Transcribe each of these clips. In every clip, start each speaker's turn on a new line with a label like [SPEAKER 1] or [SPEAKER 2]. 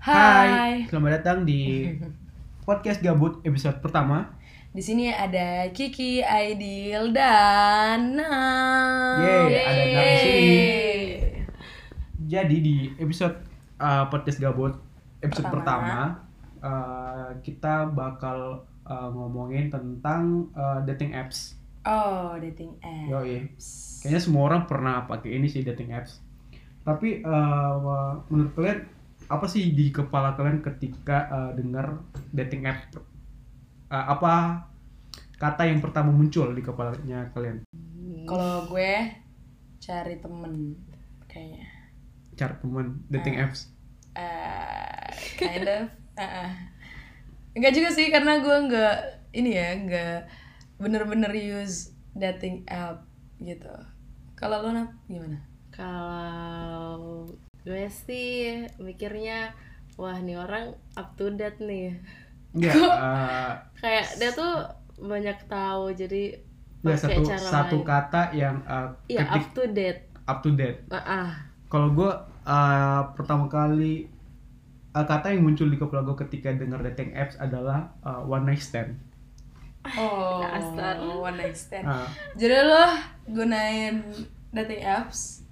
[SPEAKER 1] Hai.
[SPEAKER 2] selamat datang di podcast gabut episode pertama.
[SPEAKER 1] Di sini ada Kiki, Aidil, dan Nam.
[SPEAKER 2] Yeay, ada Nam di sini.
[SPEAKER 1] Yeay.
[SPEAKER 2] Jadi di episode uh, podcast gabut episode
[SPEAKER 1] Pertama.
[SPEAKER 2] pertama, uh, kita bakal uh, ngomongin tentang uh, dating apps.
[SPEAKER 1] Oh, dating apps.
[SPEAKER 2] Yo, iya. Kayaknya semua orang pernah pakai ini sih dating apps. Tapi uh, menurut kalian apa sih di kepala kalian ketika uh, dengar dating app? Uh, apa kata yang pertama muncul di kepalanya kalian?
[SPEAKER 1] Kalau gue cari temen kayaknya.
[SPEAKER 2] Cara teman
[SPEAKER 3] Ah.
[SPEAKER 2] dating apps.
[SPEAKER 1] Eh, kind of. Uh-uh. Enggak juga sih karena gue enggak ini ya, enggak bener-bener use dating app gitu. Kalau lo Nam, gimana?
[SPEAKER 3] Kalau gue sih mikirnya wah nih orang up to date nih.
[SPEAKER 2] Ya, eh,
[SPEAKER 3] Kayak dia tuh banyak tahu jadi
[SPEAKER 2] ya
[SPEAKER 3] pakai
[SPEAKER 2] satu
[SPEAKER 3] cara
[SPEAKER 2] satu
[SPEAKER 3] lain.
[SPEAKER 2] kata yang eh,
[SPEAKER 3] Iya up
[SPEAKER 2] ketik
[SPEAKER 3] to date.
[SPEAKER 2] up to date.
[SPEAKER 3] Ah, ah.
[SPEAKER 2] Kalau gue eh, pertama kali eh, kata yang muncul di kepala gue ketika denger dating apps adalah eh, one night stand.
[SPEAKER 1] Oh,
[SPEAKER 3] Nah, Dasar.
[SPEAKER 1] one night stand.
[SPEAKER 2] Eh,
[SPEAKER 1] Jadi lo gunain dating apps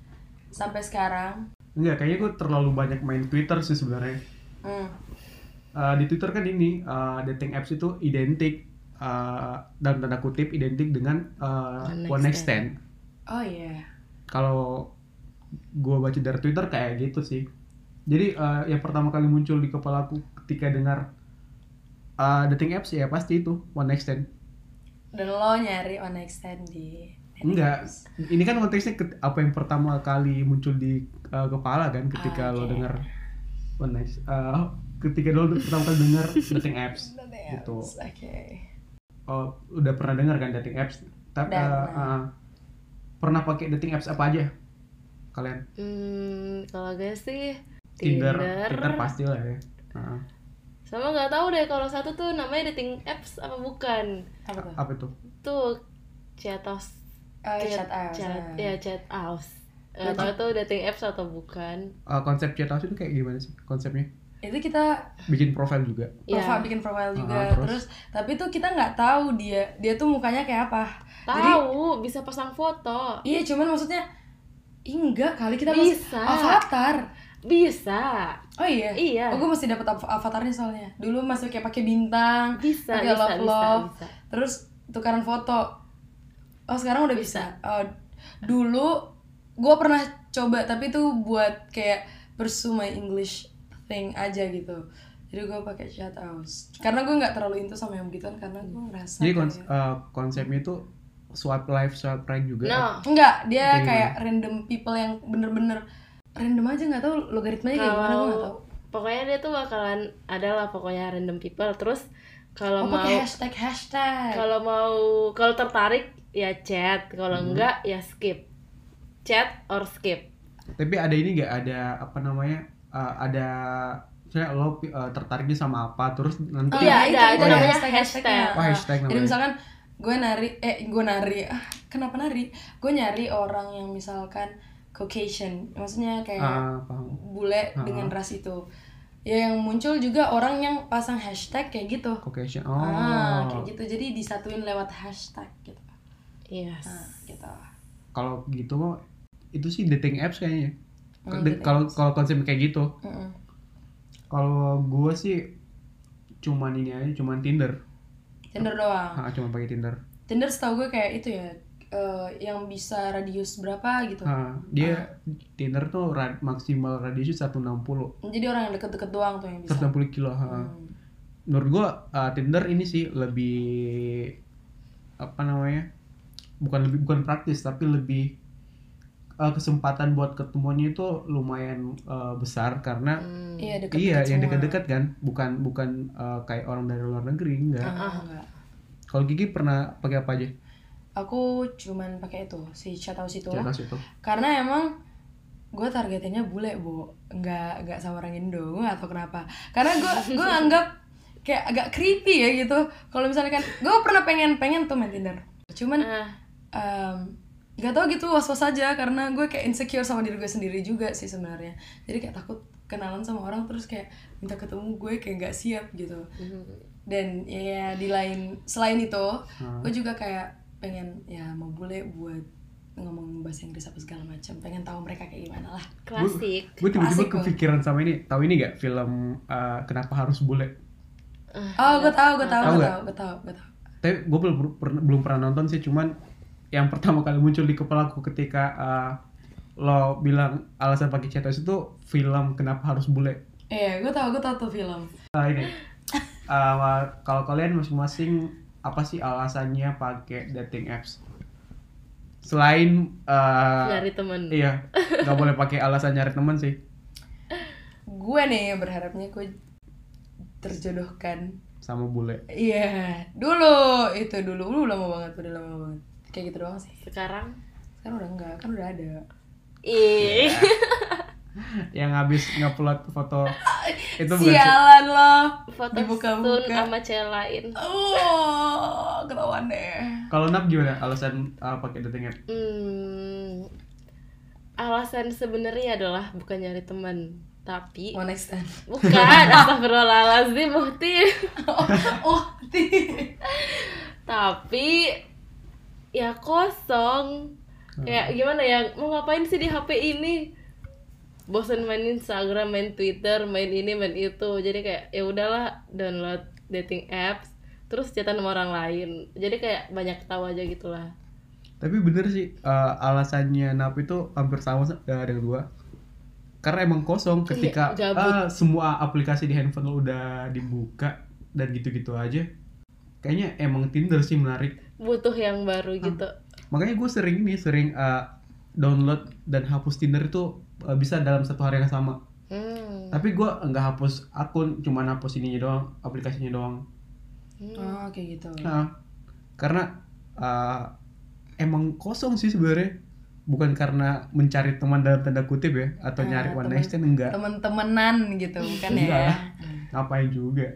[SPEAKER 1] sampai sekarang?
[SPEAKER 2] enggak, kayaknya gue terlalu banyak main Twitter sih sebenarnya.
[SPEAKER 1] Hmm.
[SPEAKER 2] Eh, di Twitter kan ini eh, dating apps itu identik eh, dalam tanda kutip identik dengan eh,
[SPEAKER 3] One night
[SPEAKER 2] one night stand.
[SPEAKER 1] Oh iya.
[SPEAKER 2] kalau gua baca dari Twitter kayak gitu sih. Jadi eh, yang pertama kali muncul di kepala aku ketika dengar eh, dating apps ya pasti itu one night stand.
[SPEAKER 1] Dan lo nyari one night stand di dating
[SPEAKER 2] Enggak,
[SPEAKER 1] apps.
[SPEAKER 2] ini kan konteksnya ket- apa yang pertama kali muncul di eh, kepala kan ketika
[SPEAKER 1] Ah,
[SPEAKER 2] lo
[SPEAKER 1] Oke.
[SPEAKER 2] dengar one night eh, ketika lo pertama kali dengar dating apps.
[SPEAKER 1] Dating
[SPEAKER 2] Gitu.
[SPEAKER 1] apps. Oke.
[SPEAKER 2] Oh, udah pernah dengar kan dating apps? Tapi
[SPEAKER 1] Udah
[SPEAKER 2] eh,
[SPEAKER 1] pernah.
[SPEAKER 2] eh, pernah pakai dating apps apa aja kalian?
[SPEAKER 3] Hmm, kalau gue sih
[SPEAKER 2] Tinder,
[SPEAKER 3] Tinder.
[SPEAKER 2] Tinder pasti lah ya. Eh,
[SPEAKER 3] Sama nggak tahu deh kalau satu tuh namanya dating apps apa bukan.
[SPEAKER 1] Apa tuh?
[SPEAKER 2] apa tuh?
[SPEAKER 3] Tuh chatos.
[SPEAKER 1] Oh, chat apps.
[SPEAKER 3] Iya, Chat,
[SPEAKER 1] ah.
[SPEAKER 3] ya chat apps. Nggak tahu itu dating apps atau bukan.
[SPEAKER 2] Eh, konsep chat house itu kayak gimana sih konsepnya?
[SPEAKER 1] Itu kita
[SPEAKER 2] Bikin profil juga.
[SPEAKER 1] profile
[SPEAKER 3] Iya.
[SPEAKER 1] bikin profile
[SPEAKER 2] Ah,
[SPEAKER 1] juga terus?
[SPEAKER 2] terus?
[SPEAKER 1] tapi tuh kita nggak tahu dia dia tuh mukanya kayak apa jadi
[SPEAKER 3] Tahu, bisa pasang foto.
[SPEAKER 1] iya cuman maksudnya ih, enggak kali kita
[SPEAKER 3] Bisa.
[SPEAKER 1] masih avatar
[SPEAKER 3] Bisa.
[SPEAKER 1] oh iya
[SPEAKER 3] Iya.
[SPEAKER 1] oh gue masih dapat av- avatarnya soalnya dulu masih kayak pakai bintang
[SPEAKER 3] Bisa,
[SPEAKER 1] pakai
[SPEAKER 3] bisa,
[SPEAKER 1] love
[SPEAKER 3] bisa,
[SPEAKER 1] love
[SPEAKER 3] bisa.
[SPEAKER 1] terus tukaran foto oh sekarang udah bisa, Oh, dulu gue pernah coba tapi tuh buat kayak pursue my English thing aja gitu jadi gue pakai chat house karena gue nggak terlalu into sama yang begituan karena gue ngerasa
[SPEAKER 2] Jadi kons-
[SPEAKER 1] kayak-
[SPEAKER 2] eh, konsepnya itu swipe left, swipe right juga.
[SPEAKER 3] No,
[SPEAKER 1] Enggak, dia
[SPEAKER 2] Kayak
[SPEAKER 1] kayak random people yang bener-bener random aja nggak tahu logaritmanya kayak Eh, gimana gue nggak tahu.
[SPEAKER 3] kalau pokoknya dia tuh bakalan adalah pokoknya random people. Terus
[SPEAKER 1] Oh,
[SPEAKER 3] kalau mau
[SPEAKER 1] pakai hashtag hashtag.
[SPEAKER 3] kalau mau kalau tertarik ya chat, kalau enggak ya skip. Chat or skip.
[SPEAKER 2] Tapi ada ini nggak ada apa namanya? eh, ada saya lo eh, tertariknya sama apa terus nanti
[SPEAKER 1] Oh,
[SPEAKER 3] Iya,
[SPEAKER 1] itu-
[SPEAKER 3] ada,
[SPEAKER 1] itu
[SPEAKER 2] ada
[SPEAKER 1] namanya
[SPEAKER 3] hashtag.
[SPEAKER 1] hashtagnya.
[SPEAKER 2] Oh, hashtag
[SPEAKER 1] Jadi
[SPEAKER 2] namanya.
[SPEAKER 1] misalkan gue nari, eh gue nari, Ah, kenapa nari? Gue nyari orang yang misalkan Caucasian, maksudnya kayak
[SPEAKER 2] Ah, paham.
[SPEAKER 1] bule dengan ras itu. Ya yang muncul juga orang yang pasang hashtag kayak gitu.
[SPEAKER 2] Caucasian. Oh.
[SPEAKER 1] Ah, kayak gitu. Jadi disatuin lewat hashtag gitu.
[SPEAKER 3] Yes.
[SPEAKER 1] Ah, gitu.
[SPEAKER 2] Kalau gitu itu sih dating apps kayaknya.
[SPEAKER 1] Oh,
[SPEAKER 2] De-
[SPEAKER 1] dating
[SPEAKER 2] Kalau kalau konsep kayak gitu.
[SPEAKER 1] Mm-mm.
[SPEAKER 2] Kalau gue sih cuman ini aja, cuman Tinder.
[SPEAKER 1] Tinder doang.
[SPEAKER 2] Ah, cuman pakai Tinder.
[SPEAKER 1] Tinder setahu gue kayak itu ya, eh, yang bisa radius berapa gitu.
[SPEAKER 2] Ah, dia Tinder tuh ra- maksimal radiusnya 160
[SPEAKER 1] Jadi orang yang deket-deket doang tuh yang bisa. Hmm.
[SPEAKER 2] 160 kilo. ha. Menurut gua uh, Tinder ini sih lebih apa namanya? Bukan lebih bukan praktis tapi lebih uh, kesempatan buat ketemuannya itu lumayan uh, besar karena
[SPEAKER 1] Iya deket.
[SPEAKER 2] iya yang dekat-dekat kan, bukan bukan uh, kayak orang dari luar negeri
[SPEAKER 1] Ah.
[SPEAKER 2] enggak.
[SPEAKER 1] enggak.
[SPEAKER 2] Kalau Gigi pernah pakai apa aja?
[SPEAKER 1] Aku cuman pakai itu si chat house itu.
[SPEAKER 2] Cerita situ.
[SPEAKER 1] Karena emang gue targetinnya bule, Bu. Enggak enggak sama orang Indo, gue gak tau kenapa. Karena gue gue anggap kayak agak creepy ya gitu. Kalau misalkan gue pernah pengen pengen tuh main Tinder. Cuman
[SPEAKER 3] Ah,
[SPEAKER 1] em, gak tau gitu was was aja karena gue kayak insecure sama diri gue sendiri juga sih sebenarnya jadi kayak takut kenalan sama orang terus kayak minta ketemu gue kayak nggak siap gitu dan ya di lain selain itu
[SPEAKER 2] Hmm.
[SPEAKER 1] gue juga kayak pengen ya mau bule buat ngomong bahasa Inggris apa segala macam pengen tahu mereka kayak gimana lah
[SPEAKER 3] Klasik.
[SPEAKER 2] Gue tiba-tiba
[SPEAKER 1] Asik gua.
[SPEAKER 2] kepikiran sama ini. Tahu ini gak film eh, Kenapa Harus Bule?
[SPEAKER 1] oh gue tau gue tau gue
[SPEAKER 2] Tahu ya? nggak?
[SPEAKER 1] tau gue tau gue tau
[SPEAKER 2] Tapi gue belum per- belum pernah nonton sih. Cuman yang pertama kali muncul di kepala aku ketika eh, lo bilang alasan pakai cetos itu film Kenapa Harus Bule.
[SPEAKER 1] iya gue tau gue tau tuh film
[SPEAKER 2] Eh, ini. Eh, kalau kalian masing-masing apa sih alasannya pakai dating apps? Selain eh,
[SPEAKER 3] Dari temen.
[SPEAKER 2] iya, nggak boleh pakai alasan nyari teman sih.
[SPEAKER 1] gue nih berharapnya gue terjodohkan
[SPEAKER 2] sama bule.
[SPEAKER 1] iya dulu itu dulu dulu lama banget udah lama banget kayak gitu doang sih
[SPEAKER 3] Sekarang.
[SPEAKER 1] sekarang udah enggak kan udah ada
[SPEAKER 3] Ih.
[SPEAKER 2] Yang habis ngupload foto itu bukan
[SPEAKER 1] sialan loh
[SPEAKER 3] Foto stun
[SPEAKER 1] dibuka-buka
[SPEAKER 3] sama cewek lain.
[SPEAKER 1] oh ketahuan deh
[SPEAKER 2] Kalau Nap gimana alasan uh, pakai dating app?
[SPEAKER 3] Hmm, alasan sebenarnya adalah bukan nyari teman, tapi
[SPEAKER 1] mau next time
[SPEAKER 3] bukan astagfirullahalazim bukti,
[SPEAKER 1] oh, oh ti-
[SPEAKER 3] tapi ya kosong.
[SPEAKER 2] Hmm.
[SPEAKER 3] Kayak gimana ya mau ngapain sih di HP ini? Bosan main Instagram, main Twitter, main ini, main itu. Jadi kayak ya udahlah download dating apps terus chatan sama orang lain. Jadi kayak banyak tahu aja gitulah.
[SPEAKER 2] Tapi bener sih uh, alasannya Nap itu hampir sama uh, dengan gua. Karena emang kosong ketika
[SPEAKER 3] Iya,
[SPEAKER 2] ah,
[SPEAKER 3] gabut.
[SPEAKER 2] semua aplikasi di handphone lo udah dibuka dan gitu-gitu aja. Kayaknya emang Tinder sih menarik.
[SPEAKER 3] Butuh yang baru
[SPEAKER 2] Hmm.
[SPEAKER 3] gitu.
[SPEAKER 2] Makanya gue sering nih sering uh, download dan hapus Tinder itu uh, bisa dalam satu hari yang sama.
[SPEAKER 3] Hmm.
[SPEAKER 2] Tapi gue nggak hapus akun, cuma hapus ininya doang, aplikasinya doang.
[SPEAKER 3] Hmm.
[SPEAKER 1] oh kayak gitu
[SPEAKER 2] Nah, karena uh, emang kosong sih sebenarnya. Bukan karena mencari teman dalam tanda kutip ya, atau
[SPEAKER 1] Ah,
[SPEAKER 2] nyari one
[SPEAKER 1] teman.
[SPEAKER 2] night stand enggak.
[SPEAKER 1] temen-temenan gitu bukan
[SPEAKER 2] Enggak
[SPEAKER 1] ya
[SPEAKER 2] lah. Ngapain juga.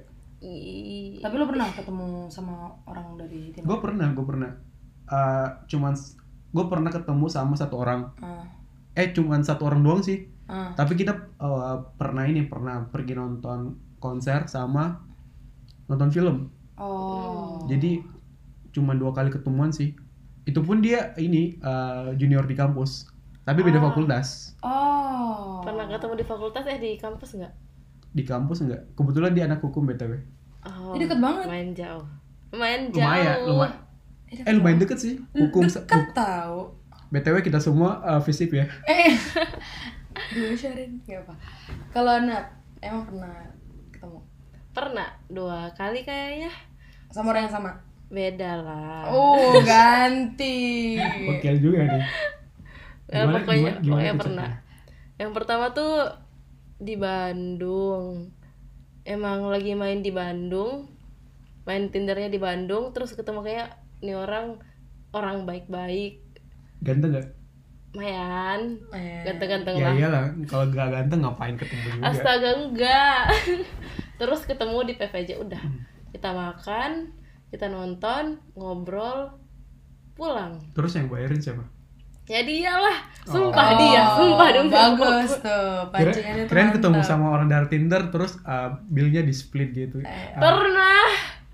[SPEAKER 3] Ih.
[SPEAKER 1] tapi lu pernah ketemu sama orang dari tim
[SPEAKER 2] Gue pernah, gue pernah. Uh, cuman gue pernah ketemu sama satu orang.
[SPEAKER 1] Ah,
[SPEAKER 2] Eh, cuman satu orang doang sih.
[SPEAKER 1] ah.
[SPEAKER 2] Tapi kita uh, pernah ini, pernah pergi nonton konser sama nonton film.
[SPEAKER 1] oh
[SPEAKER 2] Jadi cuma dua kali ketemuan sih. Itu pun dia ini uh, junior di kampus, tapi beda
[SPEAKER 1] Ah.
[SPEAKER 2] fakultas.
[SPEAKER 1] oh
[SPEAKER 3] Pernah ketemu di fakultas eh di kampus nggak?
[SPEAKER 2] Di kampus enggak. Kebetulan dia anak hukum btw.
[SPEAKER 3] Oh,
[SPEAKER 1] Ini deket banget.
[SPEAKER 3] Main jauh. Main jauh.
[SPEAKER 2] Lumayan, lumayan.
[SPEAKER 1] Iya,
[SPEAKER 2] Eh lumayan deket sih. Hukum se-
[SPEAKER 1] deket tau
[SPEAKER 2] huk- btw kita semua uh, fisip ya.
[SPEAKER 1] eh dua Sharon nggak apa kalau Nat emang pernah ketemu
[SPEAKER 3] Pernah dua kali kayaknya.
[SPEAKER 1] sama orang yang sama
[SPEAKER 3] Beda lah.
[SPEAKER 1] oh ganti
[SPEAKER 2] Oke juga nih.
[SPEAKER 3] Eh,
[SPEAKER 2] Gimana-
[SPEAKER 3] pokoknya,
[SPEAKER 2] gimana- gimana
[SPEAKER 3] pokoknya
[SPEAKER 2] tuh
[SPEAKER 3] pernah. Yang pertama tuh di Bandung. Emang lagi main di Bandung. Main Tindernya di Bandung terus ketemu kayak ini orang orang baik-baik.
[SPEAKER 2] Ganteng gak?
[SPEAKER 3] Mayan.
[SPEAKER 1] Eh,
[SPEAKER 3] Ganteng-ganteng
[SPEAKER 2] Ya
[SPEAKER 3] lah.
[SPEAKER 2] iyalah, kalau gak ganteng ngapain ketemu
[SPEAKER 1] iya.
[SPEAKER 2] juga.
[SPEAKER 3] Astaga enggak. Terus ketemu di PVJ udah. Kita makan, kita nonton, ngobrol, pulang.
[SPEAKER 2] Terus yang bayarin siapa?
[SPEAKER 3] Ya dialah,
[SPEAKER 2] Oh.
[SPEAKER 3] sumpah dia, ya? sumpah dong.
[SPEAKER 1] bagus tuh
[SPEAKER 2] Kira-
[SPEAKER 1] pancingannya tuh
[SPEAKER 2] Keren ketemu
[SPEAKER 1] mantap.
[SPEAKER 2] sama orang dari Tinder terus uh, bill-nya di split gitu.
[SPEAKER 1] Eh,
[SPEAKER 2] Ah,
[SPEAKER 3] Pernah.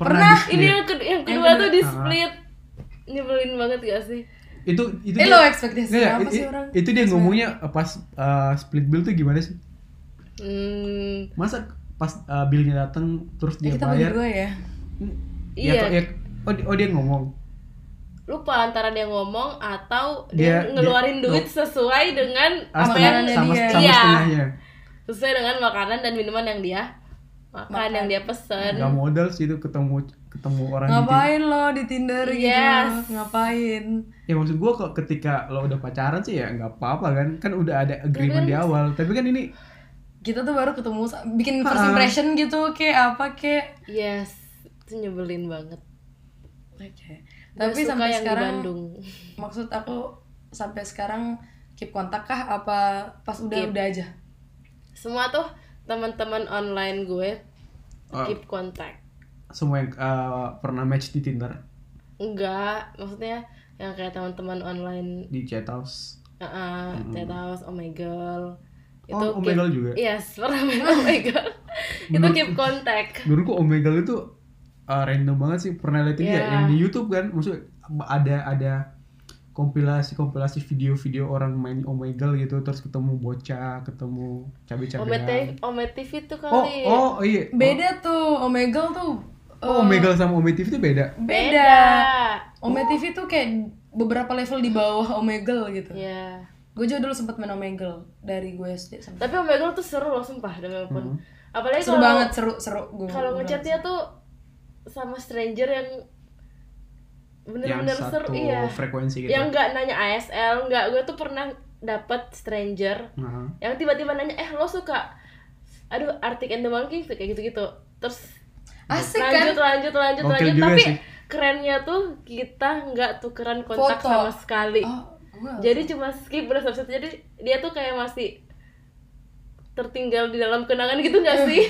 [SPEAKER 2] pernah, di
[SPEAKER 3] Ini
[SPEAKER 2] split.
[SPEAKER 3] yang, kedua, yang kedua
[SPEAKER 1] kedua.
[SPEAKER 3] tuh di
[SPEAKER 2] Ah.
[SPEAKER 3] split. Nyebelin banget gak sih?
[SPEAKER 2] Itu itu
[SPEAKER 1] eh
[SPEAKER 2] dia-
[SPEAKER 1] lo ekspektasi
[SPEAKER 2] Nggak,
[SPEAKER 1] apa
[SPEAKER 2] i-
[SPEAKER 1] sih
[SPEAKER 2] i-
[SPEAKER 1] orang
[SPEAKER 2] Itu dia ngomongnya eh, pas eh, split bill tuh gimana sih?
[SPEAKER 3] Hmm,
[SPEAKER 2] Masa pas eh, billnya datang terus
[SPEAKER 1] Eh,
[SPEAKER 2] dia
[SPEAKER 1] kita bagi
[SPEAKER 2] bayar?
[SPEAKER 1] dua ya
[SPEAKER 2] Hmm,
[SPEAKER 3] Iya.
[SPEAKER 2] Ya, ya- oh, di- oh, dia ngomong.
[SPEAKER 3] lupa antara dia ngomong atau dia,
[SPEAKER 2] Dia-
[SPEAKER 3] ngeluarin
[SPEAKER 2] dia-
[SPEAKER 3] duit sesuai dengan
[SPEAKER 2] Ah,
[SPEAKER 3] apa
[SPEAKER 2] setengah-
[SPEAKER 3] yang
[SPEAKER 1] makanannya
[SPEAKER 2] sama,
[SPEAKER 1] dia.
[SPEAKER 2] sama
[SPEAKER 3] Iya.
[SPEAKER 2] setengahnya.
[SPEAKER 3] sesuai dengan makanan dan minuman yang dia makan,
[SPEAKER 1] Makan.
[SPEAKER 3] yang dia pesen.
[SPEAKER 2] Gak modal sih itu ketemu ketemu orang gitu.
[SPEAKER 1] ngapain lo di Tinder
[SPEAKER 3] Yes.
[SPEAKER 1] gitu ngapain
[SPEAKER 2] Ya maksud gua kok ketika lo udah pacaran sih ya nggak apa-apa kan. Kan udah ada agreement di awal. Tapi kan ini
[SPEAKER 1] kita tuh baru ketemu sa- bikin first
[SPEAKER 2] Ah.
[SPEAKER 1] impression gitu kayak apa kayak
[SPEAKER 3] Yes, itu nyebelin banget.
[SPEAKER 1] oke
[SPEAKER 3] Gua
[SPEAKER 1] tapi
[SPEAKER 3] suka
[SPEAKER 1] sampai
[SPEAKER 3] yang di
[SPEAKER 1] sekarang
[SPEAKER 3] Bandung.
[SPEAKER 1] maksud aku sampai sekarang keep kontak kah apa pas udah
[SPEAKER 3] Keep. Oh.
[SPEAKER 1] udah aja
[SPEAKER 3] Semua tuh teman-teman online gue
[SPEAKER 2] eh,
[SPEAKER 3] keep contact.
[SPEAKER 2] semua yang eh, pernah match di Tinder.
[SPEAKER 3] Enggak, maksudnya yang kayak teman-teman online
[SPEAKER 2] di chat house
[SPEAKER 3] uh, uh, Ted House, Omegle itu iya.
[SPEAKER 2] oh
[SPEAKER 3] keep-
[SPEAKER 2] omegle juga
[SPEAKER 3] yes pernah main Omegle itu
[SPEAKER 2] Menurut-
[SPEAKER 3] keep contact
[SPEAKER 2] menurutku omegle itu uh, random banget sih pernah liatin ya
[SPEAKER 3] Iya.
[SPEAKER 2] yang di YouTube kan maksud ada ada kompilasi kompilasi video-video orang main omegle gitu terus ketemu bocah
[SPEAKER 3] Oh,
[SPEAKER 2] ketemu cabe-cabean
[SPEAKER 3] Omete Ome TV tuh
[SPEAKER 2] oh ya?
[SPEAKER 3] kali
[SPEAKER 2] oh iya
[SPEAKER 1] Beda tuh, Omegle tuh
[SPEAKER 2] oh
[SPEAKER 1] eh,
[SPEAKER 2] omegle sama ome tv itu beda
[SPEAKER 1] Beda. Ome TV tuh kayak beberapa level di bawah Omegle gitu.
[SPEAKER 3] ya
[SPEAKER 1] Gue juga dulu sempet main Omegle dari gue SD sampai.
[SPEAKER 3] tapi Omegle tuh seru loh sumpah demi apapun
[SPEAKER 2] Mhm.
[SPEAKER 3] apalagi
[SPEAKER 1] Seru
[SPEAKER 3] kalau-
[SPEAKER 1] banget, seru seru gue.
[SPEAKER 3] kalau ngechatnya tuh sama stranger yang
[SPEAKER 2] yang
[SPEAKER 3] bener-bener
[SPEAKER 2] satu
[SPEAKER 3] seru iya
[SPEAKER 2] frekuensi gitu
[SPEAKER 3] yang nggak nanya ASL nggak gue tuh pernah dapet stranger
[SPEAKER 2] Nah.
[SPEAKER 3] yang tiba-tiba nanya eh lo suka aduh Arctic and the Monkeys tuh kayak gitu-gitu terus
[SPEAKER 1] Asik
[SPEAKER 3] lanjut
[SPEAKER 1] kan?
[SPEAKER 3] lanjut lanjut
[SPEAKER 2] Gokil
[SPEAKER 3] lanjut
[SPEAKER 2] juga
[SPEAKER 3] tapi
[SPEAKER 2] sih.
[SPEAKER 3] kerennya tuh kita nggak tukeran kontak
[SPEAKER 1] Foto.
[SPEAKER 3] sama sekali
[SPEAKER 1] Oh, gue.
[SPEAKER 3] jadi cuma skip bener satu jadi dia tuh kayak masih tertinggal di dalam kenangan gitu nggak sih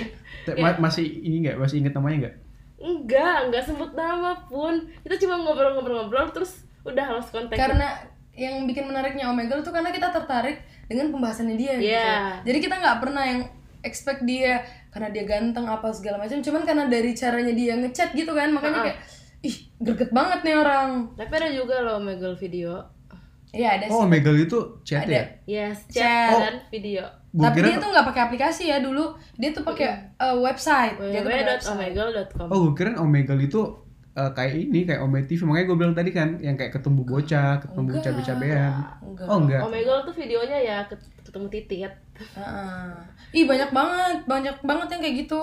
[SPEAKER 2] Te- ma-
[SPEAKER 1] Iya.
[SPEAKER 2] masih ini nggak masih inget namanya nggak
[SPEAKER 3] enggak enggak sebut nama pun kita cuma ngobrol-ngobrol-ngobrol terus udah lost kontak
[SPEAKER 1] karena yang bikin menariknya Omegle tuh karena kita tertarik dengan pembahasannya dia
[SPEAKER 3] Iya.
[SPEAKER 1] gitu. Jadi kita nggak pernah yang expect dia karena dia ganteng apa segala macam, cuman karena dari caranya dia ngechat gitu kan, makanya kayak ih, greget banget nih orang.
[SPEAKER 3] tapi ada juga loh Omegle video
[SPEAKER 1] Iya, ada sih.
[SPEAKER 2] oh omegle itu chat
[SPEAKER 1] Ada.
[SPEAKER 2] ya
[SPEAKER 3] yes
[SPEAKER 1] Chat.
[SPEAKER 2] Oh.
[SPEAKER 3] chat dan video
[SPEAKER 2] Gua
[SPEAKER 1] Tapi
[SPEAKER 2] kira-
[SPEAKER 1] dia tuh nggak pakai aplikasi ya dulu, dia tuh pakai uh, website. Dia tuh pakai website.
[SPEAKER 3] www.omegle.com
[SPEAKER 2] Oh, gue kira Omegle itu eh, kayak ini, kayak Ome TV. Makanya gue bilang tadi kan, yang kayak ketemu bocah, ketemu
[SPEAKER 1] Enggak.
[SPEAKER 2] cabe-cabean.
[SPEAKER 1] Enggak.
[SPEAKER 2] Oh, enggak.
[SPEAKER 3] Omegle tuh videonya ya ket- ketemu titik
[SPEAKER 1] Heeh. Ih, banyak banget, banyak banget yang kayak gitu.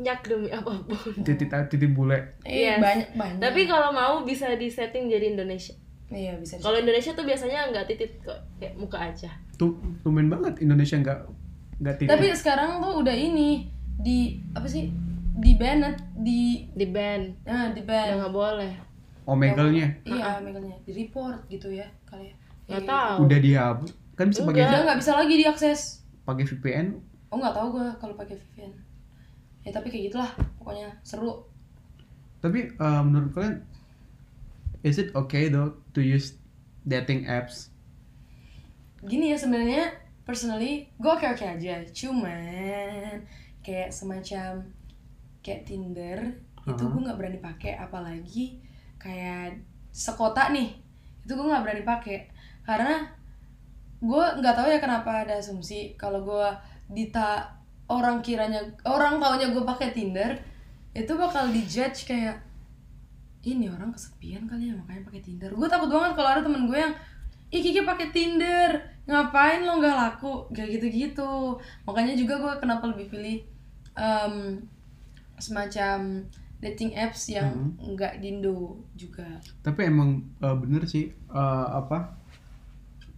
[SPEAKER 3] nyak demi apapun
[SPEAKER 2] Titik titik eh, bule.
[SPEAKER 1] Iya,
[SPEAKER 3] Yes.
[SPEAKER 1] banyak banyak.
[SPEAKER 3] tapi kalau mau bisa disetting jadi Indonesia
[SPEAKER 1] iya bisa. di-
[SPEAKER 3] kalau Indonesia tuh biasanya nggak titik kok kayak muka aja
[SPEAKER 2] Tuh, tumen banget Indonesia nggak nggak titik.
[SPEAKER 1] Tapi sekarang tuh udah ini di apa sih? Di Bennett di
[SPEAKER 3] di band
[SPEAKER 1] nah, di
[SPEAKER 3] udah
[SPEAKER 1] ban.
[SPEAKER 3] nggak boleh
[SPEAKER 2] Omegle-nya
[SPEAKER 1] Iya, megalnya di report gitu ya kali ya.
[SPEAKER 3] nggak
[SPEAKER 1] Iya.
[SPEAKER 3] tahu
[SPEAKER 2] udah dihapus. Kan bisa pakai
[SPEAKER 1] Udah nggak bisa lagi diakses.
[SPEAKER 2] pakai VPN.
[SPEAKER 1] Oh, nggak tahu gua kalau pakai VPN. Ya tapi kayak gitulah pokoknya seru.
[SPEAKER 2] Tapi eh, menurut kalian is it okay though to use dating apps?
[SPEAKER 1] Gini ya sebenarnya personally gue oke oke aja. Cuman kayak semacam kayak Tinder itu
[SPEAKER 2] Uh-huh.
[SPEAKER 1] gue nggak berani pakai apalagi kayak sekota nih itu gue nggak berani pakai karena gue nggak tahu ya kenapa ada asumsi kalau gue dita orang kiranya orang taunya gue pakai Tinder itu bakal dijudge kayak ini orang kesepian kali ya makanya pakai Tinder gue takut banget kalau ada temen gue yang ih Kiki pakai Tinder ngapain lo nggak laku kayak gitu-gitu makanya juga gue kenapa lebih pilih em, semacam dating apps yang nggak dindo juga
[SPEAKER 2] Tapi emang eh, bener sih eh, apa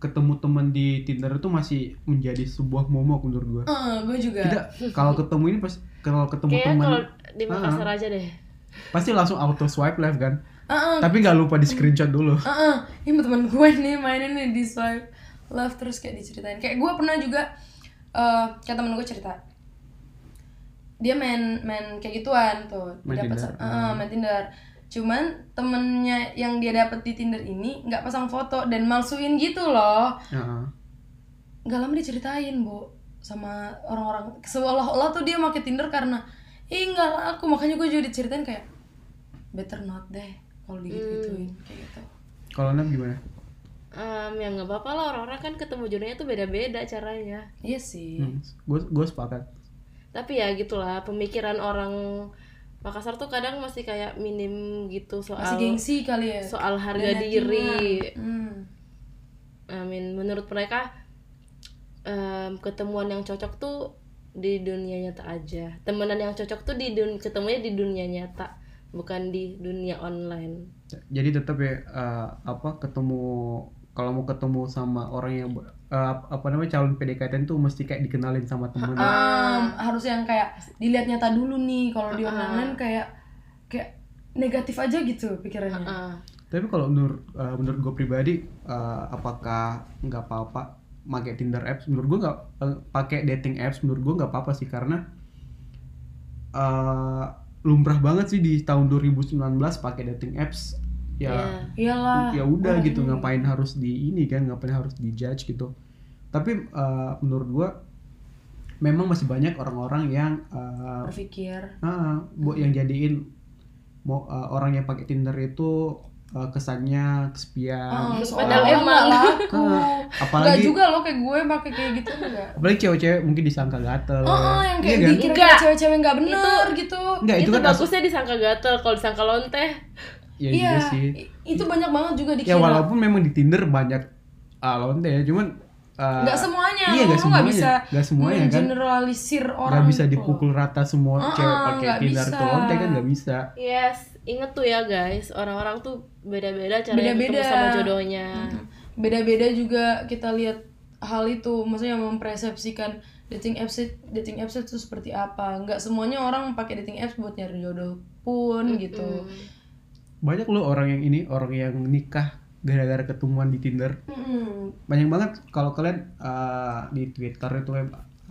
[SPEAKER 2] ketemu teman di Tinder itu masih menjadi sebuah momok menurut gue.
[SPEAKER 1] Eh, gue juga
[SPEAKER 2] Tidak, kalau ketemu ini pas kalau ketemu
[SPEAKER 3] Iya. kayaknya
[SPEAKER 2] teman Ah.
[SPEAKER 3] kalau di Makassar aja deh
[SPEAKER 2] pasti langsung auto swipe left kan.
[SPEAKER 1] Heeh,
[SPEAKER 2] Tapi nggak lupa di screenshot dulu.
[SPEAKER 1] heeh. ini teman gue nih mainin nih di swipe left terus kayak diceritain kayak gue pernah juga eh kayak temen gue cerita dia main main kayak gituan tuh
[SPEAKER 2] Main
[SPEAKER 1] dapat
[SPEAKER 2] Tinder.
[SPEAKER 1] sa- eh, main Tinder cuman temennya yang dia dapet di Tinder ini nggak pasang foto dan malsuin gitu loh
[SPEAKER 2] Heeh.
[SPEAKER 1] nggak lama diceritain bu sama orang-orang seolah-olah tuh dia pakai Tinder karena ih nggak laku makanya gue juga diceritain kayak better not deh kalau digituin kayak gitu
[SPEAKER 2] Kalau Nam gimana?
[SPEAKER 3] Em, ya nggak apa-apa lah orang-orang kan ketemu jodohnya tuh beda-beda caranya
[SPEAKER 1] iya sih
[SPEAKER 2] Gue gue Hmm. sepakat.
[SPEAKER 3] tapi ya gitulah pemikiran orang Makassar tuh kadang masih kayak minim gitu soal
[SPEAKER 1] masih gengsi kali ya
[SPEAKER 3] soal
[SPEAKER 1] Dan
[SPEAKER 3] harga diri
[SPEAKER 1] hatinya. hmm.
[SPEAKER 3] Amin. Menurut mereka em, ketemuan yang cocok tuh di dunia nyata aja. Temenan yang cocok tuh di dun ketemunya di dunia nyata, bukan di dunia online.
[SPEAKER 2] Jadi tetap ya eh, apa ketemu kalau mau ketemu sama orang yang ber- eh, apa namanya calon PDKT tuh mesti kayak dikenalin sama
[SPEAKER 3] Hmm.
[SPEAKER 2] temen.
[SPEAKER 1] Um, harus yang kayak dilihat nyata dulu nih kalau
[SPEAKER 3] Ah,
[SPEAKER 1] di online kayak kayak negatif aja gitu pikirannya
[SPEAKER 3] Ah,
[SPEAKER 2] Tapi kalau menurut eh, menurut gue pribadi eh, apakah nggak apa-apa pakai Tinder apps? Menurut gue nggak eh, pakai dating apps menurut gue nggak apa-apa sih karena eh lumrah banget sih di tahun 2019 pakai dating apps ya
[SPEAKER 3] Iya.
[SPEAKER 1] iyalah
[SPEAKER 2] ya udah
[SPEAKER 1] Orang
[SPEAKER 2] gitu
[SPEAKER 1] ini.
[SPEAKER 2] ngapain harus di ini kan ngapain harus dijudge gitu tapi eh, menurut gua memang masih banyak orang-orang yang eh,
[SPEAKER 1] berpikir
[SPEAKER 2] ah, bu yang jadiin mau eh, orang yang pakai Tinder itu eh, kesannya
[SPEAKER 1] oh,
[SPEAKER 2] kesepian
[SPEAKER 3] Ah. Padahal
[SPEAKER 1] soalnya emang
[SPEAKER 3] emang.
[SPEAKER 1] laku
[SPEAKER 2] Ah,
[SPEAKER 1] Enggak
[SPEAKER 2] apalagi
[SPEAKER 1] juga loh kayak gue pakai kayak gitu enggak
[SPEAKER 2] apalagi cewek-cewek mungkin disangka gatel
[SPEAKER 1] Oh, oh, yang
[SPEAKER 2] Iya
[SPEAKER 1] kayak
[SPEAKER 2] kan?
[SPEAKER 1] dikira
[SPEAKER 3] Enggak.
[SPEAKER 1] kayak cewek-cewek nggak bener gitu.
[SPEAKER 2] Enggak,
[SPEAKER 3] itu,
[SPEAKER 2] itu, kan as-
[SPEAKER 3] bagusnya disangka gatel kalau disangka lonteh
[SPEAKER 1] Iya,
[SPEAKER 2] ya juga sih
[SPEAKER 1] i- itu banyak banget juga dikira.
[SPEAKER 2] ya walaupun memang di Tinder banyak uh, lonte ya cuman uh,
[SPEAKER 1] Nggak semuanya,
[SPEAKER 2] iya nggak
[SPEAKER 1] lu nggak
[SPEAKER 2] semuanya
[SPEAKER 1] bisa
[SPEAKER 2] nggak semuanya kan
[SPEAKER 1] generalisir orang. gitu
[SPEAKER 2] nggak bisa
[SPEAKER 1] tuh.
[SPEAKER 2] dipukul rata semua
[SPEAKER 1] Ah,
[SPEAKER 2] cewek pakai
[SPEAKER 1] nggak
[SPEAKER 2] Tinder
[SPEAKER 1] bisa.
[SPEAKER 2] ke lonte kan nggak bisa
[SPEAKER 3] yes inget tuh ya guys orang-orang tuh beda-beda cara
[SPEAKER 1] Beda-beda.
[SPEAKER 3] ketemu sama jodohnya
[SPEAKER 1] Hmm. Beda-beda juga kita lihat hal itu, maksudnya mempersepsikan dating apps it- dating apps itu seperti apa. Nggak semuanya orang pakai dating apps buat nyari jodoh pun gitu.
[SPEAKER 2] banyak loh orang yang ini orang yang nikah gara-gara ketemuan di Tinder
[SPEAKER 1] Mm-mm.
[SPEAKER 2] banyak banget kalau kalian uh, di Twitter itu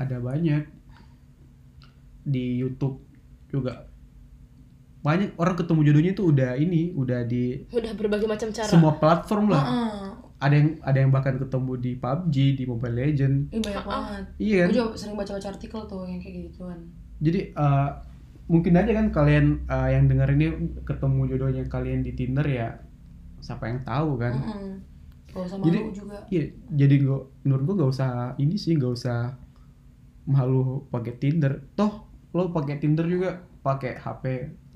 [SPEAKER 2] ada banyak di YouTube juga banyak orang ketemu jodohnya itu udah ini udah di
[SPEAKER 3] udah berbagai macam cara
[SPEAKER 2] semua platform lah
[SPEAKER 1] Ah,
[SPEAKER 2] ada yang ada yang bahkan ketemu di PUBG di Mobile Legend
[SPEAKER 1] ih, banyak banget.
[SPEAKER 2] iya
[SPEAKER 1] Gue
[SPEAKER 2] kan
[SPEAKER 1] juga sering baca-baca artikel tuh yang kayak gituan.
[SPEAKER 2] jadi eh, mungkin aja kan kalian eh, yang denger ini ketemu jodohnya kalian di Tinder ya siapa yang tahu kan
[SPEAKER 1] Mm-mm. Gak usah malu
[SPEAKER 2] Jadi-
[SPEAKER 1] juga.
[SPEAKER 2] iya jadi gua menurut gua gak usah ini sih gak usah malu pakai Tinder toh lo pakai Tinder juga pakai HP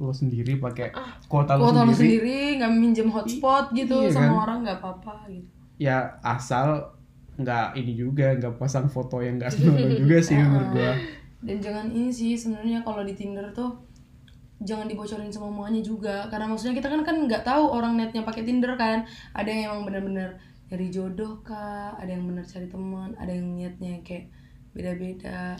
[SPEAKER 2] lo sendiri pakai Ah, kuota lo
[SPEAKER 1] Kuota lu
[SPEAKER 2] sendiri
[SPEAKER 1] sendiri nggak minjem hotspot gitu
[SPEAKER 2] iya
[SPEAKER 1] sama
[SPEAKER 2] kan?
[SPEAKER 1] orang nggak apa-apa gitu.
[SPEAKER 2] ya asal nggak ini juga nggak pasang foto yang nggak senonoh juga sih menurut gua
[SPEAKER 1] Dan jangan ini sih sebenarnya kalau di Tinder tuh jangan dibocorin semuanya juga karena maksudnya kita kan kan nggak tahu orang netnya pakai Tinder kan ada yang emang bener-bener dari jodoh kah ada yang bener cari teman ada yang niatnya kayak beda-beda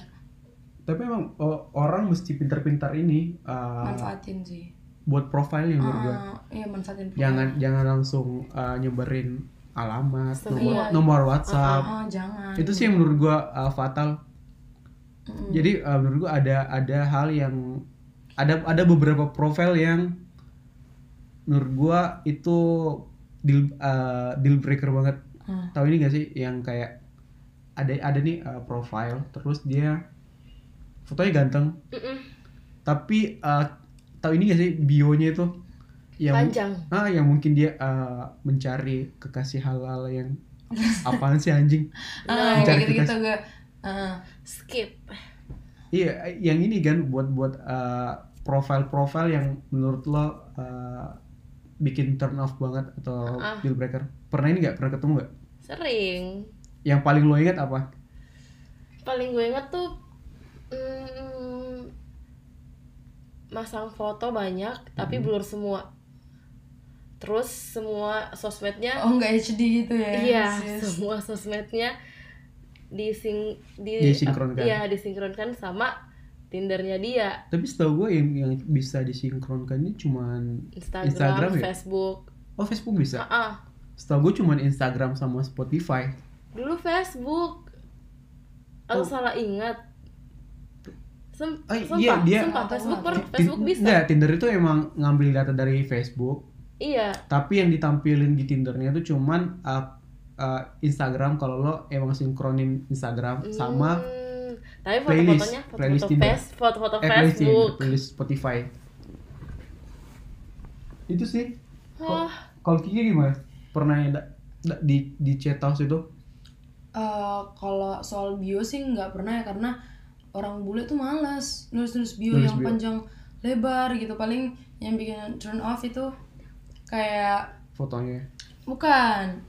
[SPEAKER 2] tapi emang o- orang mesti pintar-pintar ini eh,
[SPEAKER 1] manfaatin sih
[SPEAKER 2] buat profilnya menurut gua
[SPEAKER 1] Ah, iya manfaatin
[SPEAKER 2] jangan jangan langsung uh, nyebarin alamat nomor
[SPEAKER 1] Iya.
[SPEAKER 2] nomor WhatsApp
[SPEAKER 1] Ah, jangan
[SPEAKER 2] itu sih yang menurut gua uh, fatal
[SPEAKER 1] Mm-mm.
[SPEAKER 2] jadi uh, menurut gua ada ada hal yang ada ada beberapa profil yang menurut gua itu deal uh, deal breaker banget
[SPEAKER 1] Ah.
[SPEAKER 2] tahu ini gak sih yang kayak ada ada nih uh, profile terus dia fotonya ganteng
[SPEAKER 3] Mm-mm.
[SPEAKER 2] tapi uh, tahu ini gak sih bionya itu yang
[SPEAKER 3] panjang
[SPEAKER 2] Ah, yang mungkin dia eh, mencari kekasih halal yang apaan sih anjing?
[SPEAKER 1] Ah, yang
[SPEAKER 2] Mencari
[SPEAKER 1] kayak gitu-gitu gue ah.
[SPEAKER 3] skip
[SPEAKER 2] Iya, yang ini kan buat buat eh, profil-profil yang menurut lo eh, bikin turn off banget atau
[SPEAKER 3] Ah.
[SPEAKER 2] deal breaker. Pernah ini nggak? Pernah ketemu nggak?
[SPEAKER 3] sering
[SPEAKER 2] Yang paling lo ingat apa?
[SPEAKER 3] paling gue inget tuh mm, masang foto banyak
[SPEAKER 2] Hmm.
[SPEAKER 3] tapi blur semua terus semua sosmednya
[SPEAKER 1] oh nggak HD gitu ya
[SPEAKER 3] iya
[SPEAKER 1] sis.
[SPEAKER 3] semua sosmednya dising di
[SPEAKER 2] Disinkronkan.
[SPEAKER 3] iya disinkronkan sama tindernya dia
[SPEAKER 2] Tapi setahu gue yang yang bisa disinkronkan ini cuman
[SPEAKER 3] Instagram,
[SPEAKER 2] Instagram ya?
[SPEAKER 3] Facebook
[SPEAKER 2] oh Facebook bisa.
[SPEAKER 3] Ah-ah.
[SPEAKER 2] Setahu gue cuman Instagram sama Spotify.
[SPEAKER 3] dulu Facebook aku
[SPEAKER 2] Oh.
[SPEAKER 3] salah ingat Sem-
[SPEAKER 2] Oh,
[SPEAKER 3] sumpah,
[SPEAKER 2] iya, dia-
[SPEAKER 3] sumpah Facebook per Facebook bisa
[SPEAKER 2] Nggak, Tinder itu emang ngambil data dari Facebook.
[SPEAKER 3] iya
[SPEAKER 2] tapi yang ditampilin di Tindernya itu cuman uh, uh, Instagram kalau lo emang sinkronin Instagram sama
[SPEAKER 3] Hmm, tapi
[SPEAKER 2] playlist-
[SPEAKER 3] foto-fotonya
[SPEAKER 2] playlist
[SPEAKER 3] foto-foto
[SPEAKER 2] Tinder.
[SPEAKER 3] face, foto-foto
[SPEAKER 2] eh, playlist Tinder,
[SPEAKER 3] Facebook.
[SPEAKER 2] playlist Spotify. Itu sih. Ko-
[SPEAKER 3] Hah,
[SPEAKER 2] Kalau Kiki gimana? Pernah ya da- da- di di chat house itu?
[SPEAKER 1] Eh, kalau soal bio sih nggak pernah ya karena orang bule tuh malas nulis-nulis bio
[SPEAKER 2] Nulis
[SPEAKER 1] yang
[SPEAKER 2] bio.
[SPEAKER 1] panjang lebar gitu paling yang bikin turn off itu kayak
[SPEAKER 2] fotonya.
[SPEAKER 1] bukan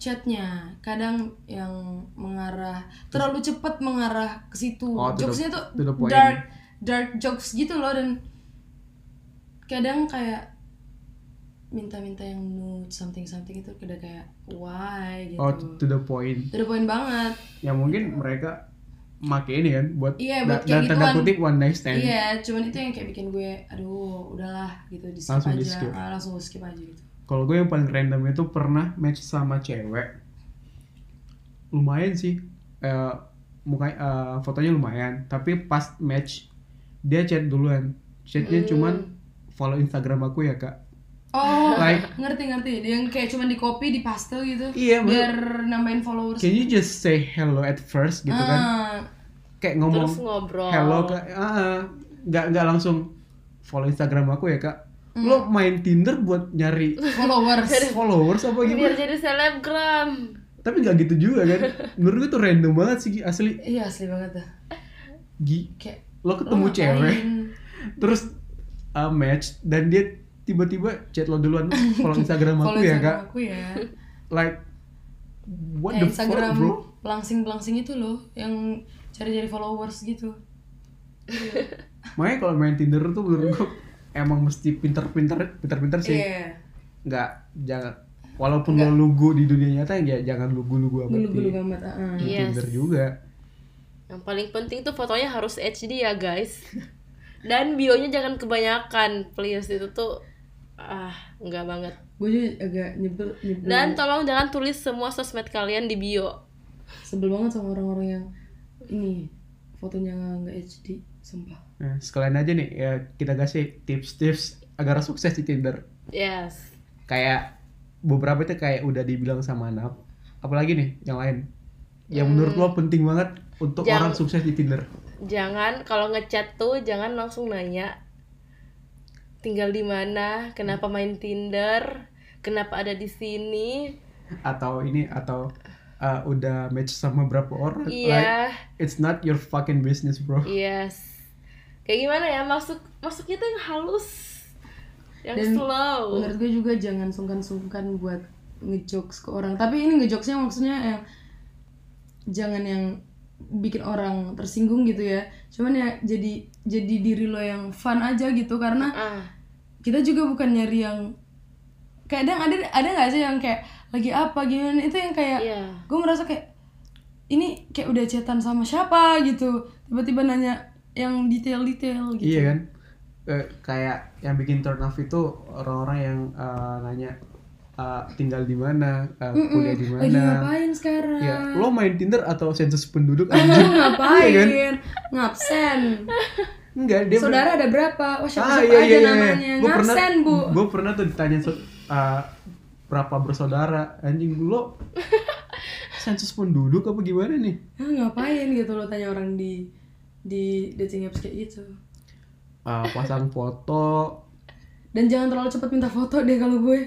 [SPEAKER 1] chatnya kadang yang mengarah terlalu cepat mengarah ke situ
[SPEAKER 2] Oh, to the-
[SPEAKER 1] jokesnya tuh
[SPEAKER 2] to the point.
[SPEAKER 1] dark dark jokes gitu loh dan kadang kayak minta-minta yang nude something something itu udah kayak why gitu
[SPEAKER 2] Oh, to, to the point.
[SPEAKER 1] to the point banget
[SPEAKER 2] Yang mungkin mereka make ini kan buat
[SPEAKER 1] Iya,
[SPEAKER 2] da-
[SPEAKER 1] buat kayak
[SPEAKER 2] dan tanda
[SPEAKER 1] gituan.
[SPEAKER 2] kutip one night stand.
[SPEAKER 1] Iya, cuman itu yang kayak bikin gue, aduh, udahlah gitu, di skip
[SPEAKER 2] Langsung
[SPEAKER 1] aja,
[SPEAKER 2] di-skip.
[SPEAKER 1] Ah, langsung skip aja gitu.
[SPEAKER 2] Kalau gue yang paling random itu pernah match sama cewek. Lumayan sih. Eh muka eh, fotonya lumayan, tapi pas match dia chat duluan. Chatnya
[SPEAKER 3] Hmm.
[SPEAKER 2] cuman follow Instagram aku ya, Kak.
[SPEAKER 1] Oh,
[SPEAKER 2] Like-
[SPEAKER 1] ngerti-ngerti. Dia yang kayak cuman di copy, di paste gitu.
[SPEAKER 2] Iya,
[SPEAKER 1] biar
[SPEAKER 2] bener.
[SPEAKER 1] nambahin followers.
[SPEAKER 2] Can you just say hello at first gitu kan?
[SPEAKER 1] Ah,
[SPEAKER 2] Kayak ngomong
[SPEAKER 3] terus ngobrol
[SPEAKER 2] hello ke ah, ah. nggak nggak langsung follow Instagram aku ya, Kak.
[SPEAKER 3] Hmm.
[SPEAKER 2] Lo main Tinder buat nyari
[SPEAKER 1] followers.
[SPEAKER 2] followers apa
[SPEAKER 3] biar
[SPEAKER 2] Oh, gimana?
[SPEAKER 3] jadi selebgram
[SPEAKER 2] Tapi nggak gitu juga kan? Menurut gue tuh random banget sih asli.
[SPEAKER 1] iya, asli banget dah.
[SPEAKER 2] Gi,
[SPEAKER 1] Kayak
[SPEAKER 2] lo ketemu
[SPEAKER 1] lo Oh, ngapain?
[SPEAKER 2] cewek, terus uh, match dan dia tiba-tiba chat lo duluan follow Instagram
[SPEAKER 1] Follow
[SPEAKER 2] aku ya,
[SPEAKER 1] Instagram
[SPEAKER 2] Kak.
[SPEAKER 1] Aku ya.
[SPEAKER 2] Like
[SPEAKER 1] Kayak
[SPEAKER 2] what the
[SPEAKER 1] Ya, Instagram
[SPEAKER 2] fuck, bro?
[SPEAKER 1] pelangsing-pelangsing itu loh yang cari-cari followers gitu.
[SPEAKER 2] Makanya kalau main Tinder tuh menurut gue emang mesti pinter-pinter, pinter-pinter sih.
[SPEAKER 1] Iya.
[SPEAKER 2] nggak jangan walaupun lo lugu di dunia nyata ya jangan lugu-lugu amat
[SPEAKER 1] Gulu-gulu
[SPEAKER 2] di,
[SPEAKER 1] banget, ah, heeh.
[SPEAKER 2] di
[SPEAKER 3] Yes.
[SPEAKER 2] Tinder juga.
[SPEAKER 3] yang paling penting tuh fotonya harus HD ya guys dan bionya jangan kebanyakan please itu tuh ah enggak banget
[SPEAKER 1] Gue juga agak nyebel, nyebel.
[SPEAKER 3] dan
[SPEAKER 2] Hmm.
[SPEAKER 3] tolong jangan tulis semua sosmed kalian di bio
[SPEAKER 1] sebel banget sama orang-orang yang ini fotonya nggak HD sumpah
[SPEAKER 2] Nah, sekalian aja nih ya kita kasih tips-tips agar sukses di Tinder.
[SPEAKER 3] yes
[SPEAKER 2] Kayak beberapa itu kayak udah dibilang sama Nap. Apalagi nih yang lain. Yang menurut lo penting banget untuk
[SPEAKER 3] Yang-
[SPEAKER 2] orang sukses di Tinder.
[SPEAKER 3] jangan kalau ngechat tuh jangan langsung nanya tinggal di mana kenapa main Tinder kenapa ada di sini
[SPEAKER 2] Atau ini atau uh, udah match sama berapa orang. Like,
[SPEAKER 3] iya
[SPEAKER 2] it's not your fucking business, bro.
[SPEAKER 3] yes kayak gimana ya masuk masuknya tuh yang halus yang
[SPEAKER 1] Dan
[SPEAKER 3] slow
[SPEAKER 1] menurut gue juga jangan sungkan-sungkan buat ngejokes ke orang tapi ini ngejokesnya maksudnya yang jangan yang bikin orang tersinggung gitu ya cuman ya jadi jadi diri lo yang fun aja gitu karena
[SPEAKER 3] ah
[SPEAKER 1] kita juga bukan nyari yang kadang ada ada nggak sih yang kayak lagi apa gimana itu yang kayak
[SPEAKER 3] Iya.
[SPEAKER 1] gue merasa kayak ini kayak udah chatan sama siapa gitu tiba-tiba nanya yang detail-detail gitu
[SPEAKER 2] Iya kan? Eh, kayak yang bikin turn off itu orang-orang yang eh, nanya eh, tinggal di mana, eh,
[SPEAKER 1] Mm-mm, Oh, iya,
[SPEAKER 2] kuliah di
[SPEAKER 1] lagi
[SPEAKER 2] mana.
[SPEAKER 1] ngapain sekarang
[SPEAKER 2] Ya, lo main Tinder atau sensus penduduk
[SPEAKER 1] Lo
[SPEAKER 2] anjing?
[SPEAKER 1] ngapain
[SPEAKER 2] Iya kan?
[SPEAKER 1] ngabsen
[SPEAKER 2] Enggak, dia
[SPEAKER 1] saudara ada berapa oh
[SPEAKER 2] Ah,
[SPEAKER 1] siapa,
[SPEAKER 2] iya,
[SPEAKER 1] siapa aja namanya
[SPEAKER 2] Gue pernah,
[SPEAKER 1] ngabsen bu
[SPEAKER 2] gue pernah tuh ditanya so- eh, berapa bersaudara, anjing lo sensus penduduk apa gimana nih?
[SPEAKER 1] Ah, ngapain gitu lo tanya orang di di dating apps kayak gitu
[SPEAKER 2] Eh, pasang foto,
[SPEAKER 1] dan jangan terlalu cepat minta foto deh kalau gue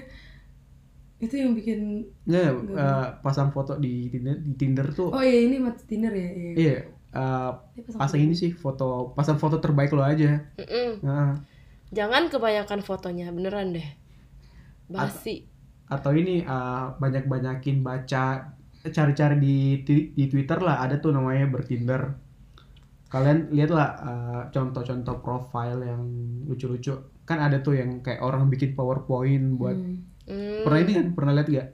[SPEAKER 1] itu yang bikin
[SPEAKER 2] nggak eh, pasang foto di Tinder, di Tinder tuh,
[SPEAKER 1] oh iya ini mati dinner ya iya
[SPEAKER 2] iya. eh,
[SPEAKER 1] Ini pasang
[SPEAKER 2] pasang ini sih foto pasang foto terbaik lo aja
[SPEAKER 3] Mm-mm.
[SPEAKER 2] Nah,
[SPEAKER 3] Jangan kebanyakan fotonya, beneran deh. Basi.
[SPEAKER 2] atau ini uh, banyak banyakin baca cari-cari di ti- di Twitter lah ada tuh namanya bertinder kalian lihatlah uh, contoh-contoh profil yang lucu-lucu kan ada tuh yang kayak orang bikin powerpoint buat
[SPEAKER 3] Hmm,
[SPEAKER 2] pernah ini kan pernah lihat gak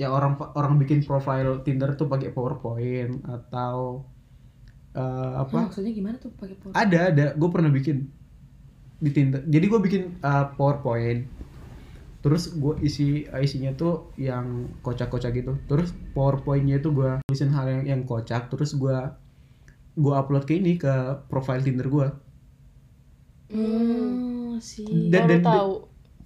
[SPEAKER 2] ya orang orang bikin profil Tinder tuh pakai powerpoint atau uh, apa
[SPEAKER 1] Hah, maksudnya gimana tuh pakai power
[SPEAKER 2] ada ada gue pernah bikin di Tinder jadi gue bikin uh, powerpoint terus gue isi uh, isinya tuh yang kocak-kocak gitu terus powerpointnya itu gue tulisin hal yang yang kocak terus gue gue upload ke ini ke profile Tinder gue
[SPEAKER 1] Hmm, sih.
[SPEAKER 2] dan
[SPEAKER 3] baru
[SPEAKER 2] dan,
[SPEAKER 3] tahu.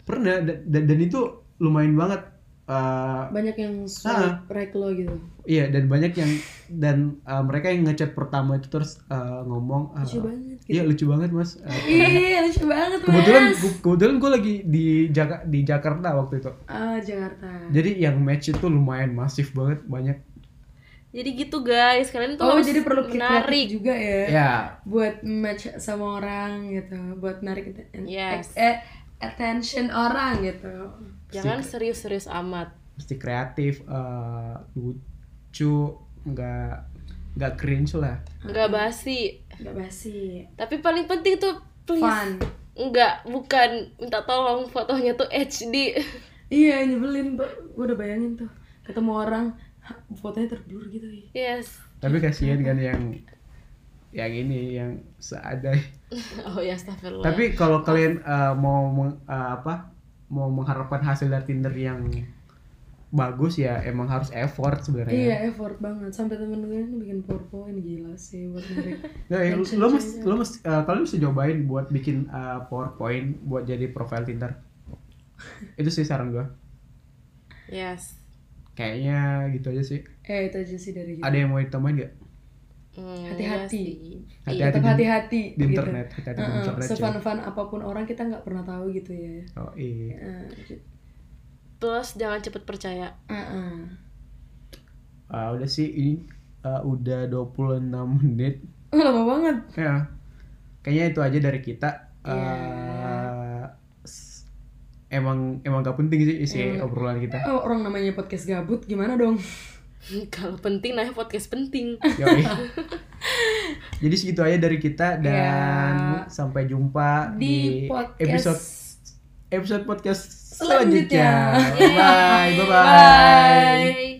[SPEAKER 2] pernah dan, dan dan itu lumayan banget Uh,
[SPEAKER 1] Banyak yang swipe right lo gitu.
[SPEAKER 2] iya dan banyak yang dan uh, mereka yang ngechat pertama itu terus uh, ngomong uh,
[SPEAKER 1] Lucu banget gitu.
[SPEAKER 2] iya lucu banget mas Uh,
[SPEAKER 1] Iya, lucu banget,
[SPEAKER 2] kebetulan
[SPEAKER 1] Mas.
[SPEAKER 2] gu- kebetulan gue lagi di Jaka- di Jakarta waktu itu
[SPEAKER 1] Ah, Jakarta.
[SPEAKER 2] jadi yang match itu lumayan masif banget banyak
[SPEAKER 3] Jadi gitu guys, kalian tuh
[SPEAKER 1] Oh,
[SPEAKER 3] harus
[SPEAKER 1] jadi perlu menarik
[SPEAKER 3] menarik.
[SPEAKER 1] juga ya
[SPEAKER 2] ya
[SPEAKER 1] buat match sama orang gitu, buat narik atten-
[SPEAKER 3] Yes.
[SPEAKER 1] eh, attention orang gitu.
[SPEAKER 3] Jangan serius-serius amat.
[SPEAKER 2] mesti kreatif eh, lucu nggak nggak cringe lah
[SPEAKER 3] Enggak basi.
[SPEAKER 1] Gak basi.
[SPEAKER 3] Tapi paling penting tuh please.
[SPEAKER 1] Fun.
[SPEAKER 3] Enggak, bukan minta tolong fotonya tuh HD.
[SPEAKER 1] Iya, nyebelin, Mbak. Gue udah bayangin tuh ketemu orang ha, fotonya terblur gitu ya.
[SPEAKER 3] Yes.
[SPEAKER 2] tapi kasihan kan yang yang ini yang seadai
[SPEAKER 3] Oh ya, astagfirullah.
[SPEAKER 2] tapi kalau kalian eh, mau meng- eh, apa mau mengharapkan hasil dari Tinder yang bagus ya emang harus effort sebenarnya
[SPEAKER 1] Iya, effort banget. Sampai temen gue ini bikin PowerPoint gila sih buat narik.
[SPEAKER 2] Nah, ya,
[SPEAKER 1] Mention
[SPEAKER 2] lo mesti lo mesti eh, kalian mesti cobain buat bikin eh, PowerPoint buat jadi profile Tinder. itu sih saran gua
[SPEAKER 3] Yes.
[SPEAKER 2] kayaknya gitu aja sih
[SPEAKER 1] eh itu aja sih dari kita
[SPEAKER 2] ada yang mau ditambahin gak
[SPEAKER 3] Hmm,
[SPEAKER 1] Hati-hati.
[SPEAKER 3] iya sih.
[SPEAKER 1] Iya, tetap
[SPEAKER 2] di,
[SPEAKER 1] hati-hati gitu.
[SPEAKER 2] di internet hati-hati di internet ya.
[SPEAKER 1] Sefan-fan apapun orang kita nggak pernah tahu gitu ya.
[SPEAKER 2] oh iya
[SPEAKER 1] Eh,
[SPEAKER 3] Plus jangan cepet percaya.
[SPEAKER 1] eh.
[SPEAKER 2] Ah, udah sih ini ah, udah 26 menit
[SPEAKER 1] Oh, lama banget.
[SPEAKER 2] ya kayaknya itu aja dari kita Ah, s- emang emang gak penting sih isi obrolan kita
[SPEAKER 1] Oh, orang namanya podcast gabut gimana dong?
[SPEAKER 3] Kalau penting nah podcast penting.
[SPEAKER 2] Yoi. Jadi segitu aja dari kita dan sampai jumpa
[SPEAKER 1] Di
[SPEAKER 2] di,
[SPEAKER 1] podcast
[SPEAKER 2] episode episode podcast
[SPEAKER 1] selanjutnya.
[SPEAKER 2] selanjutnya. Bye bye bye.
[SPEAKER 3] Bye.